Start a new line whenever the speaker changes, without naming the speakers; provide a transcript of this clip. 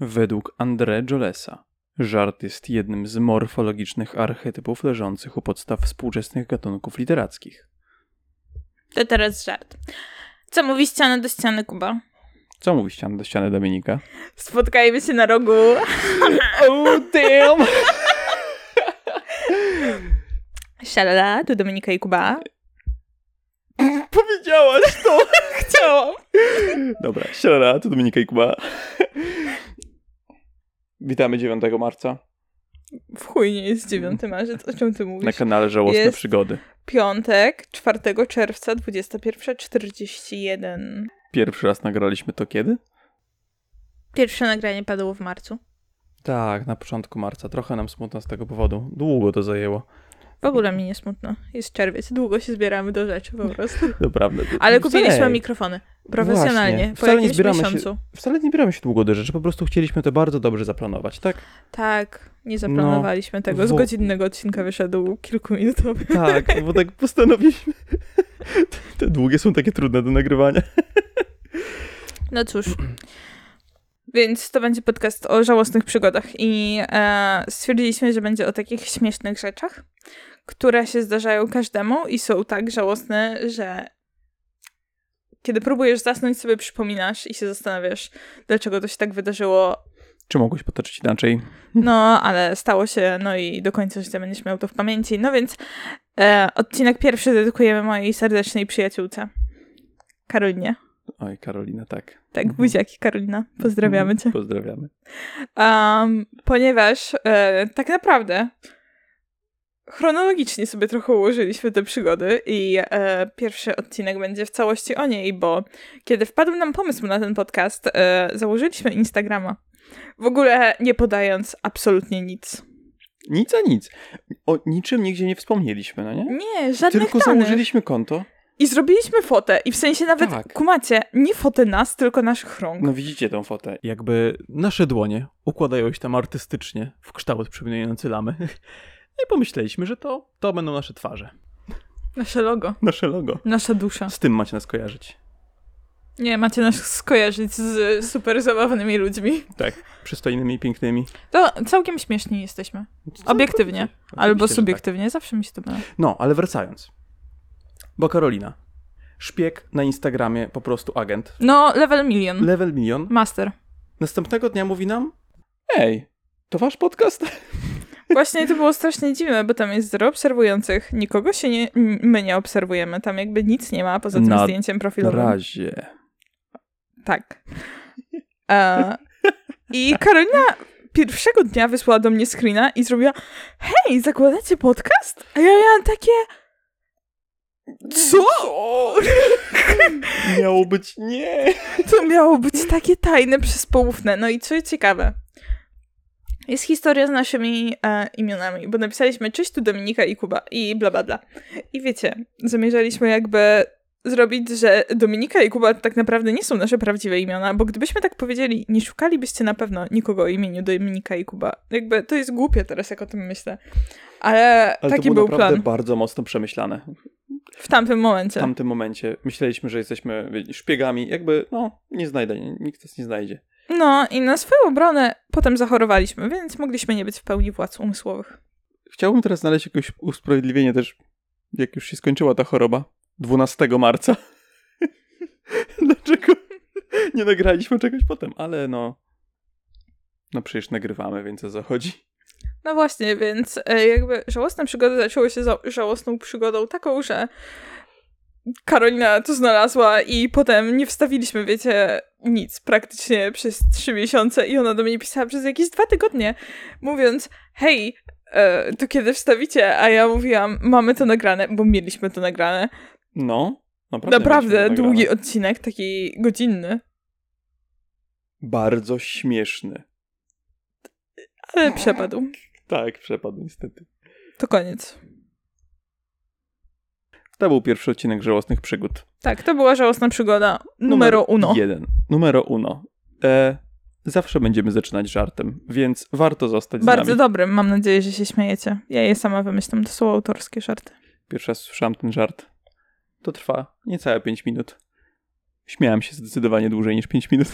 Według André Jolesa, żart jest jednym z morfologicznych archetypów leżących u podstaw współczesnych gatunków literackich.
To teraz żart. Co mówi ściana do ściany, Kuba?
Co mówi ściana do ściany Dominika?
Spotkajmy się na rogu.
Oh damn!
Szalala, tu Dominika i Kuba.
Powiedziałaś to!
Chciałam.
Dobra, siara, to Dominika i Kuba. Witamy 9 marca
W chuj nie jest 9 marzec, o czym ty
na
mówisz?
kanale Żałosne
Jest.
Przygody.
Piątek, 4 czerwca, 21.41.
Pierwszy raz nagraliśmy to kiedy?
Pierwsze nagranie padło w marcu.
Tak, na początku marca. Trochę nam smutno z tego powodu. Długo to zajęło.
W ogóle mi nie smutno. Jest czerwiec. Długo się zbieramy do rzeczy po prostu.
No, Naprawdę.
Ale kupiliśmy
Ej,
mikrofony. Profesjonalnie.
Właśnie.
Po
Wcale nie
jakimś
zbieramy się-
miesiącu.
Wcale nie bieramy się długo do rzeczy, po prostu chcieliśmy to bardzo dobrze zaplanować, tak?
Tak, nie zaplanowaliśmy tego. Z
wo-
godzinnego odcinka wyszedł kilkuminutowy.
Tak, bo tak postanowiliśmy. Te długie są takie trudne do nagrywania.
No cóż. Więc to będzie podcast o żałosnych przygodach i e, stwierdziliśmy, że będzie o takich śmiesznych rzeczach, które się zdarzają każdemu i są tak żałosne, że kiedy próbujesz zasnąć, sobie przypominasz i się zastanawiasz, dlaczego to się tak wydarzyło.
Czy mogłeś potoczyć inaczej?
No, ale stało się, no i do końca życia będziesz miał to w pamięci. No więc e, odcinek pierwszy dedykujemy mojej serdecznej przyjaciółce, Karolinie.
Oj, Karolina, tak.
Tak,
Mhm.
buziaki, Karolina. Pozdrawiamy cię.
Pozdrawiamy.
Um, ponieważ e, tak naprawdę chronologicznie sobie trochę ułożyliśmy te przygody i e, pierwszy odcinek będzie w całości o niej, bo kiedy wpadł nam pomysł na ten podcast, e, założyliśmy Instagrama. W ogóle nie podając absolutnie nic.
Nic a nic. O niczym nigdzie nie wspomnieliśmy, no nie?
Nie, żadnych
Tylko
danych.
założyliśmy konto.
I zrobiliśmy fotę i w sensie nawet,
Tak.
kumacie, nie fotę nas, tylko naszych rąk.
No widzicie tą fotę. Jakby nasze dłonie układają się tam artystycznie w kształt przypominający lamy. No I pomyśleliśmy, że to, to będą nasze twarze.
Nasze logo.
Nasze logo.
Nasza dusza.
Z tym macie nas kojarzyć.
Nie, macie nas skojarzyć z super zabawnymi ludźmi.
Tak. Przystojnymi i pięknymi.
To całkiem śmieszni jesteśmy. Obiektywnie.
No, Oczywiście,
Albo
że
subiektywnie, zawsze mi się to myli.
Tak. No, ale wracając. Bo Karolina. Szpieg na Instagramie, po prostu agent.
No, level milion.
Level milion.
Master.
Następnego dnia mówi nam: Ej, to wasz podcast?
Właśnie to było strasznie dziwne, bo tam jest zero obserwujących. Nikogo się nie, n- my nie obserwujemy. Tam jakby nic nie ma poza tym
Na
zdjęciem
Na
profilowym.
razie.
Tak. E, I Karolina pierwszego dnia wysłała do mnie screena i zrobiła Hej, zakładacie podcast? A ja miałam takie... Co?
Miało być nie.
To miało być takie tajne przez poufne. No i co jest ciekawe, jest historia z naszymi e, imionami, bo napisaliśmy cześć tu Dominika i Kuba i bla bla bla. I wiecie, zamierzaliśmy jakby zrobić, że Dominika i Kuba tak naprawdę nie są nasze prawdziwe imiona, bo gdybyśmy tak powiedzieli, nie szukalibyście na pewno nikogo o imieniu Dominika i Kuba. Jakby to jest głupie teraz, jak o tym myślę. Ale,
Ale
taki
to było
był
naprawdę
plan Tak.
bardzo mocno przemyślane.
w tamtym
W
momencie.
tamtym momencie myśleliśmy, że jesteśmy wiecie, szpiegami, jakby, no, nie znajdę, nie- nikt nas nie znajdzie.
No i na swoją obronę potem zachorowaliśmy, więc mogliśmy nie być w pełni władz umysłowych.
Chciałbym teraz znaleźć jakieś usprawiedliwienie też, jak już się skończyła ta choroba. 12 marca. Dlaczego nie nagraliśmy czegoś potem? Ale no, no przecież nagrywamy, więc o co chodzi?
No właśnie, więc e, jakby żałosne przygody zaczęły się za żałosną przygodą taką, że Karolina to znalazła i potem nie wstawiliśmy, wiecie, nic praktycznie przez trzy miesiące i ona do mnie pisała przez jakieś dwa tygodnie, mówiąc hej, e, to kiedy wstawicie? A ja mówiłam, mamy to nagrane, bo mieliśmy to nagrane.
No, naprawdę.
Naprawdę
mieliśmy to
długi
nagrane.
odcinek, taki godzinny,
Bardzo śmieszny.
ale przepadł.
Tak, przepadł niestety.
To koniec.
To był pierwszy odcinek Żałosnych Przygód.
Tak, to była żałosna przygoda numero uno.
Jeden. Numero uno. E, zawsze będziemy zaczynać żartem, więc warto zostać z
Bardzo
nami.
dobrym, mam nadzieję, że się śmiejecie. Ja je sama wymyślam, to są autorskie żarty.
Pierwszy raz słyszałam ten żart. To trwa niecałe 5 minut. Śmiałem się zdecydowanie dłużej niż 5 minut.